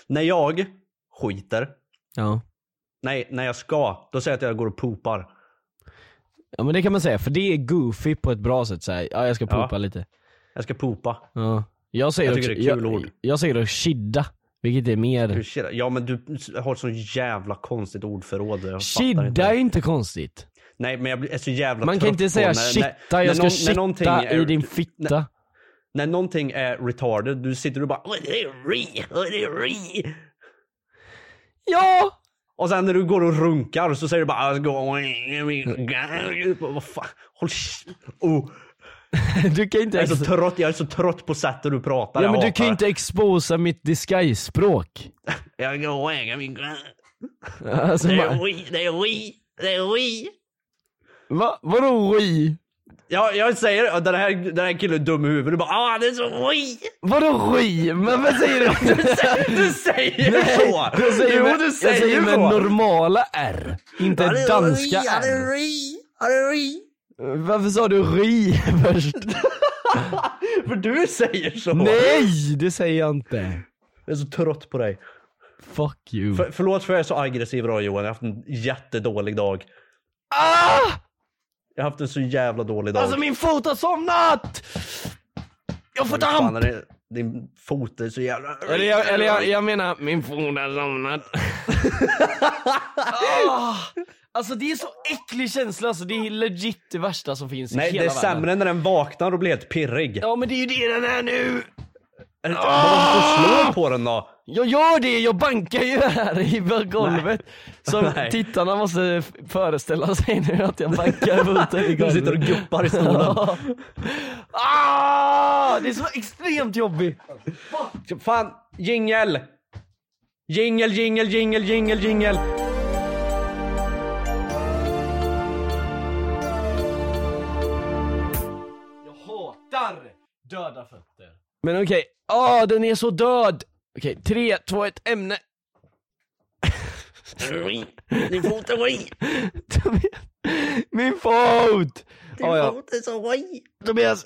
Speaker 2: när jag skiter,
Speaker 1: Ja.
Speaker 2: nej, när jag ska, då säger jag att jag går och popar.
Speaker 1: Ja men det kan man säga för det är goofy på ett bra sätt såhär, ja jag ska
Speaker 2: Ja.
Speaker 1: popa lite.
Speaker 2: Jag ska popa.
Speaker 1: Ja. Jag säger
Speaker 2: Jag
Speaker 1: också,
Speaker 2: tycker det är kul
Speaker 1: jag,
Speaker 2: ord.
Speaker 1: jag säger dock chidda, vilket är mer...
Speaker 2: Ursäkta. Ja men du har ett så jävla konstigt ordförråd. Jag fattar inte.
Speaker 1: Chidda är inte konstigt.
Speaker 2: Nej men jag blir- är så jävla
Speaker 1: Man kan
Speaker 2: trött
Speaker 1: inte
Speaker 2: på
Speaker 1: säga
Speaker 2: när, när-
Speaker 1: shitta,
Speaker 2: när
Speaker 1: jag
Speaker 2: någon- när
Speaker 1: ska
Speaker 2: någonting
Speaker 1: shitta
Speaker 2: är-
Speaker 1: i din fitta.
Speaker 2: När någonting är retarded, du sitter och bara "Åh, det är re, åh, det är re.
Speaker 1: Ja!
Speaker 2: Och sen när du går och runkar så säger du bara "Åh, gå- <laughs> Vad fan, håll sh- oh.
Speaker 1: Du kan inte
Speaker 2: jag, är
Speaker 1: ens...
Speaker 2: så trött, jag är så trött på sättet du pratar.
Speaker 1: Ja
Speaker 2: jag
Speaker 1: men du
Speaker 2: hatar
Speaker 1: kan ju
Speaker 2: det.
Speaker 1: inte exposa mitt disguise-språk.
Speaker 2: Jag går och äger min grann.
Speaker 1: Alltså,
Speaker 2: det
Speaker 1: man-
Speaker 2: är re, det är re, det är re.
Speaker 1: Va? Vadå ri?
Speaker 2: Ja, jag säger den här, den här killen är dum i huvudet. Du bara ah, det är så re. <laughs>
Speaker 1: Vadå ri? Men vad säger du?
Speaker 2: Du säger så!
Speaker 1: Jag säger,
Speaker 2: jo,
Speaker 1: med,
Speaker 2: du säger,
Speaker 1: jag säger med
Speaker 2: så!
Speaker 1: normala R, inte
Speaker 2: Ja, det är
Speaker 1: danska
Speaker 2: ri, ja, det är
Speaker 1: R.
Speaker 2: ri, ja, det är ri.
Speaker 1: Varför sa du ri <laughs> först?
Speaker 2: För du säger så!
Speaker 1: Nej, det säger jag inte.
Speaker 2: Jag är så trött på dig.
Speaker 1: Fuck you.
Speaker 2: För, förlåt för att jag är så aggressiv idag Johan, jag har haft en jättedålig dag.
Speaker 1: Ah!
Speaker 2: Jag har haft en så jävla dålig dag.
Speaker 1: Alltså min fot har somnat! Jag får
Speaker 2: Fan,
Speaker 1: damp!
Speaker 2: är det- Din fot är så jävla...
Speaker 1: Eller, jag, eller jag, jag menar, min fot har somnat. <laughs> ah! Alltså det är så äcklig känsla alltså, det är legit det värsta som finns i
Speaker 2: Nej det
Speaker 1: hela
Speaker 2: är
Speaker 1: världen.
Speaker 2: sämre när den vaknar och blir helt pirrig.
Speaker 1: Ja men det är ju det den är nu!
Speaker 2: Eller, Vadå du slår på den då?
Speaker 1: Jag gör det, jag bankar ju här i golvet. Som
Speaker 2: Nej.
Speaker 1: tittarna måste f- föreställa sig nu att jag bankar foten
Speaker 2: <laughs>
Speaker 1: i
Speaker 2: Du
Speaker 1: golvet.
Speaker 2: sitter och guppar i stolen.
Speaker 1: <laughs> ah, det är så extremt jobbigt.
Speaker 2: Fan, jingel! Jingel, jingel, jingel, jingel, jingel!
Speaker 1: Jag hatar döda fötter. Men okej, ah den är så död. Okej, tre, två, ett, ämne.
Speaker 2: Din fot är ri!
Speaker 1: <laughs> Min fot!
Speaker 2: Din
Speaker 1: Ah, ja.
Speaker 2: fot är så ri!
Speaker 1: Tobias,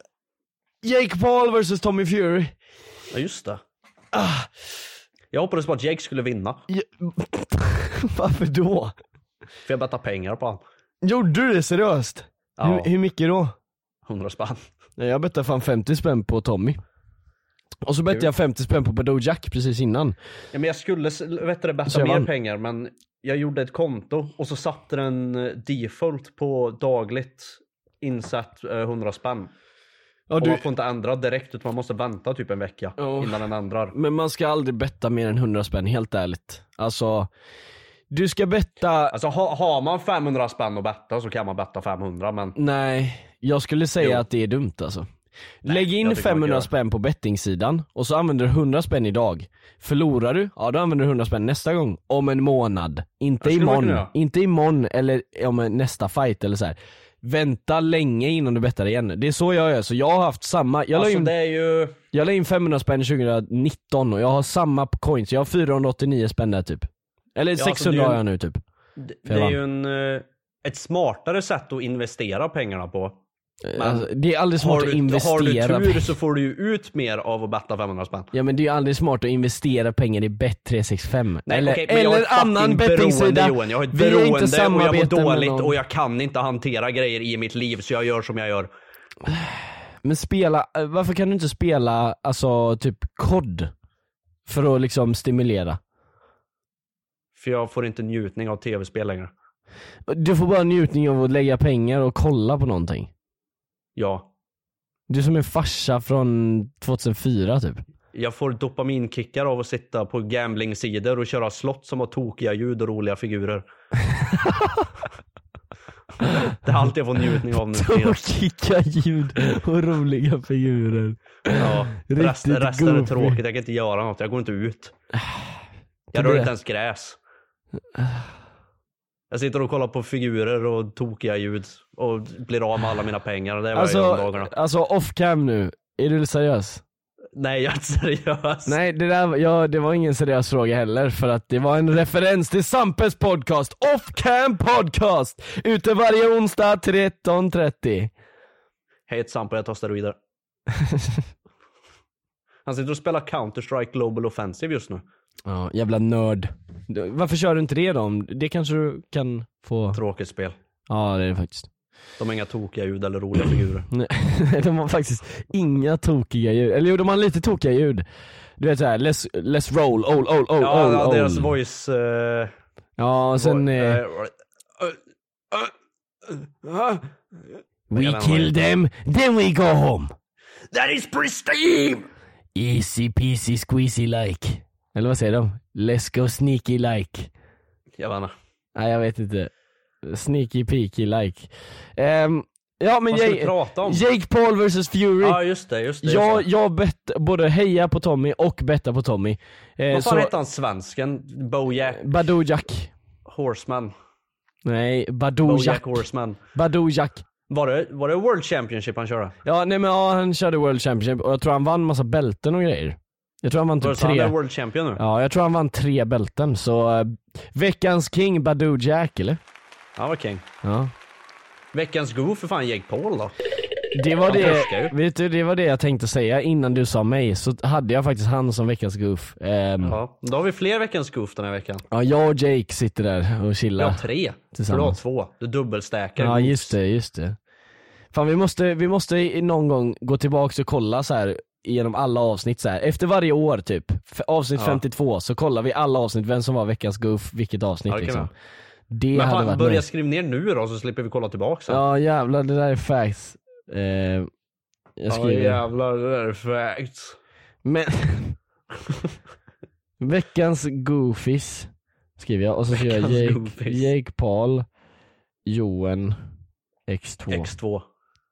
Speaker 1: Jake Paul vs Tommy Fury.
Speaker 2: Ja just det. Jag hoppades på att Jake skulle vinna.
Speaker 1: Ja, <laughs> Varför då?
Speaker 2: För jag bettade pengar på honom.
Speaker 1: Gjorde du det seriöst?
Speaker 2: Ja.
Speaker 1: Hur, hur mycket då?
Speaker 2: 100 spänn.
Speaker 1: Nej, Jag bettade fan 50 spänn på Tommy. Och så bettade jag 50 spänn på Badoo Jack precis innan.
Speaker 2: Ja, men jag skulle s- vet du, det,
Speaker 1: Så
Speaker 2: betta
Speaker 1: jag
Speaker 2: mer
Speaker 1: vann.
Speaker 2: pengar men jag gjorde ett konto och så satte den eh, default på dagligt insatt eh, 100 spänn.
Speaker 1: Ja,
Speaker 2: Och
Speaker 1: du,
Speaker 2: man får inte ändra direkt utan man måste vänta typ en vecka
Speaker 1: Ja.
Speaker 2: innan den ändrar.
Speaker 1: men man ska aldrig betta mer än 100 spänn, helt ärligt. Alltså, du ska betta...
Speaker 2: Alltså ha, har man 500 spänn att betta så kan man betta 500 men
Speaker 1: Nej, jag skulle säga att det är dumt alltså. Lägg in
Speaker 2: jag tycker man
Speaker 1: 500
Speaker 2: gör.
Speaker 1: spänn på bettingsidan och så använder du 100 spänn idag. Förlorar du, ja då använder du 100 spänn nästa gång. Om en månad. Inte
Speaker 2: Det skulle man kunna
Speaker 1: imorgon.
Speaker 2: göra.
Speaker 1: Inte imorgon eller om en- nästa fight eller så här. Vänta länge innan du bettar igen. Det är så jag gör, så jag har haft samma. Jag la,
Speaker 2: alltså
Speaker 1: in,
Speaker 2: det är ju...
Speaker 1: jag la in 500 spänn 2019 och jag har samma coins. Jag har 489 spänn där typ. Eller
Speaker 2: alltså,
Speaker 1: 600
Speaker 2: det är ju-
Speaker 1: har jag nu typ.
Speaker 2: Det,
Speaker 1: För
Speaker 2: det är
Speaker 1: jag
Speaker 2: ju en, eh, ett smartare sätt att investera pengarna på. Men
Speaker 1: Alltså, det är aldrig
Speaker 2: har,
Speaker 1: smart att
Speaker 2: du,
Speaker 1: investera
Speaker 2: har du tur
Speaker 1: pengar.
Speaker 2: så får du ju ut mer av att betta 500 spänn.
Speaker 1: Ja men det är ju aldrig smart att investera pengar i Bet365.
Speaker 2: Nej,
Speaker 1: eller
Speaker 2: okej, men jag har
Speaker 1: eller
Speaker 2: ett fucking
Speaker 1: annan
Speaker 2: beroende,
Speaker 1: bettingsida.
Speaker 2: Johan. Jag har ett
Speaker 1: Vi har inte
Speaker 2: beroende och jag mår
Speaker 1: samarbete med
Speaker 2: dåligt
Speaker 1: någon.
Speaker 2: och jag kan inte hantera grejer i mitt liv så jag gör som jag gör.
Speaker 1: Men spela, eh, varför kan du inte spela alltså typ kod? För att liksom stimulera.
Speaker 2: För jag får inte njutning av tv-spel längre.
Speaker 1: Du får bara njutning av att lägga pengar och kolla på någonting.
Speaker 2: Ja.
Speaker 1: Du är som en farsa från 2004 typ.
Speaker 2: Jag får dopaminkickar av att sitta på gamblingsidor och köra slott som har tokiga ljud och
Speaker 1: <laughs>
Speaker 2: roliga figurer. det är allt jag får njutning av nu.
Speaker 1: Tokiga ljud och roliga figurer.
Speaker 2: Ja,
Speaker 1: <laughs> Riktigt
Speaker 2: resten, resten är
Speaker 1: goofy.
Speaker 2: tråkigt, jag kan inte göra något, jag går
Speaker 1: <sighs>
Speaker 2: inte ut. Jag rör
Speaker 1: Tobias.
Speaker 2: inte ens gräs. Jag sitter och kollar på figurer och tokiga ljud och blir av med alla mina pengar. Det är vad jag gör om
Speaker 1: Alltså,
Speaker 2: dagarna.
Speaker 1: alltså off cam nu. Är du seriös?
Speaker 2: Nej jag är inte seriös.
Speaker 1: Nej, det, där, ja, det var ingen seriös fråga heller för att det var en referens till Sampes podcast, Off Cam Podcast! Ute varje onsdag 13.30.
Speaker 2: Hej ett Sampo, jag
Speaker 1: <laughs>
Speaker 2: tar steroider. Han sitter och spelar Counter-Strike Global Offensive just nu.
Speaker 1: Ja, jävla nörd. Du- Varför kör du inte det då? Det kanske du kan få...
Speaker 2: Tråkigt spel.
Speaker 1: Ja, det är det faktiskt.
Speaker 2: De har inga tokiga ljud
Speaker 1: <clears throat>
Speaker 2: eller roliga figurer.
Speaker 1: Nej, <laughs> de har faktiskt inga tokiga ljud. Eller jo, de har lite tokiga ljud. Du vet såhär, let's, let's roll, oh, old, old, old,
Speaker 2: Ja,
Speaker 1: old,
Speaker 2: ja
Speaker 1: old.
Speaker 2: deras voice... eh,
Speaker 1: Ja, och oh. sen...
Speaker 2: vo-
Speaker 1: eh,
Speaker 2: eh,
Speaker 1: we kill them, then we go home.
Speaker 2: That is pristine!
Speaker 1: Easy peasy squeezy like. Eller vad säger de? Let's go sneaky like.
Speaker 2: Jag vann.
Speaker 1: Nej jag vet inte. Sneaky peaky like. Ehm, ja men
Speaker 2: Vad ska vi
Speaker 1: Jake-
Speaker 2: prata om?
Speaker 1: Jake Paul vs Fury.
Speaker 2: Ja just det, just det. Just
Speaker 1: jag,
Speaker 2: det.
Speaker 1: jag bett både heja på Tommy och betta på Tommy. Eh,
Speaker 2: Vad fan hette han svensken? Bojack
Speaker 1: Badojak.
Speaker 2: Horseman.
Speaker 1: Nej, Badojak.
Speaker 2: Bojack Horseman.
Speaker 1: Badojak.
Speaker 2: Var det, var det World Championship han körde?
Speaker 1: Ja nej men ja, han körde World Championship och jag tror han vann massa bälten och grejer. Jag tror han vann
Speaker 2: Var det
Speaker 1: typ
Speaker 2: så han är
Speaker 1: tre.
Speaker 2: World Champion nu?
Speaker 1: Ja, jag tror han vann tre bälten så eh, veckans king Badojak eller?
Speaker 2: Han var king.
Speaker 1: Ja.
Speaker 2: Veckans go för fan Jake Paul då.
Speaker 1: Det var
Speaker 2: Han
Speaker 1: det,
Speaker 2: fuskar ju.
Speaker 1: vet du, det var det jag tänkte säga innan du sa mig, så hade jag faktiskt han som veckans goof. Ehm, ja.
Speaker 2: Ja, då har vi fler veckans goof den här veckan.
Speaker 1: jag och Jake sitter där och
Speaker 2: Jag
Speaker 1: chillar.
Speaker 2: har tre. För du har
Speaker 1: Tillsammans.
Speaker 2: två. Du dubbelstäkar.
Speaker 1: Ja just det, just det. Fan vi måste, vi måste i- någon gång gå tillbaks och kolla så här genom alla avsnitt så här. efter varje år typ, F- avsnitt
Speaker 2: Ja.
Speaker 1: 52 så kollar vi alla avsnitt, vem som var veckans goof, vilket avsnitt
Speaker 2: Ja, det kan
Speaker 1: liksom.
Speaker 2: vi.
Speaker 1: Det
Speaker 2: Men
Speaker 1: hade
Speaker 2: fan,
Speaker 1: varit
Speaker 2: börja
Speaker 1: nice.
Speaker 2: skriva ner nu då så slipper vi kolla tillbaka sen.
Speaker 1: Ja jävlar det där är facts. Ehm, jag
Speaker 2: Ja,
Speaker 1: skriver.
Speaker 2: jävlar, det där är facts.
Speaker 1: Men... <laughs> Veckans goofies skriver jag och så skriver jag
Speaker 2: Veckans
Speaker 1: Jake,
Speaker 2: goofies.
Speaker 1: Jake Paul, Johan, X2. X.
Speaker 2: X2.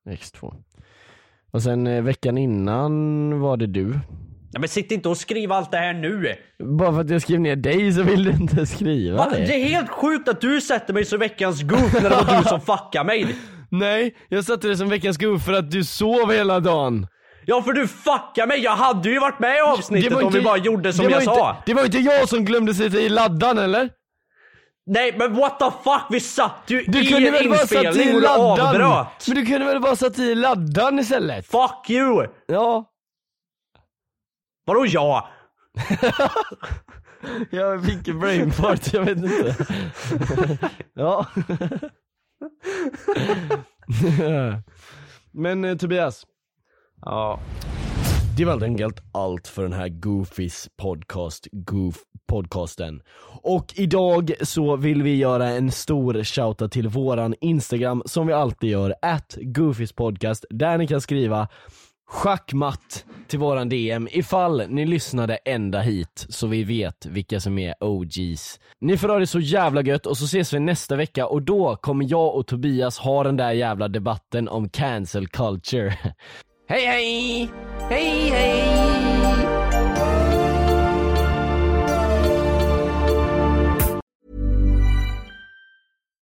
Speaker 1: X2. Och sen eh, veckan innan var det du.
Speaker 2: Ja, men sitt inte och skriv allt det här nu.
Speaker 1: Bara för att jag skrev ner dig så vill du inte skriva
Speaker 2: Va?
Speaker 1: det.
Speaker 2: Det är helt sjukt att du sätter mig som veckans goof när det var du som fuckade mig.
Speaker 1: Nej, jag satte det som veckans goof för att du sov hela dagen.
Speaker 2: Ja för du fuckade mig, jag hade ju varit med i avsnittet om vi bara gjorde som
Speaker 1: det var
Speaker 2: jag
Speaker 1: inte,
Speaker 2: sa.
Speaker 1: Det var inte jag som glömde sätta i laddan eller?
Speaker 2: Nej men what the fuck, vi satt ju
Speaker 1: Du
Speaker 2: i
Speaker 1: kunde
Speaker 2: en
Speaker 1: väl bara satt i
Speaker 2: inspelning och du
Speaker 1: laddan?
Speaker 2: avbröt.
Speaker 1: Men du kunde väl bara satt i laddan istället?
Speaker 2: Fuck you!
Speaker 1: Ja,
Speaker 2: Vadå jag?
Speaker 1: jag fick en brain fart, jag vet inte. <laughs> ja. <laughs> Men eh, Tobias.
Speaker 2: Ja.
Speaker 1: Det var helt enkelt allt för den här Goofys podcast, Goof podcasten. Och idag så vill vi göra en stor shoutout till våran Instagram som vi alltid gör, at Goofys podcast, där ni kan skriva schackmatt till våran DM ifall ni lyssnade ända hit så vi vet vilka som är OGs. Ni får ha det så jävla gött och så ses vi nästa vecka och då kommer jag och Tobias ha den där jävla debatten om cancel culture. <laughs> hej hej! Hej hej!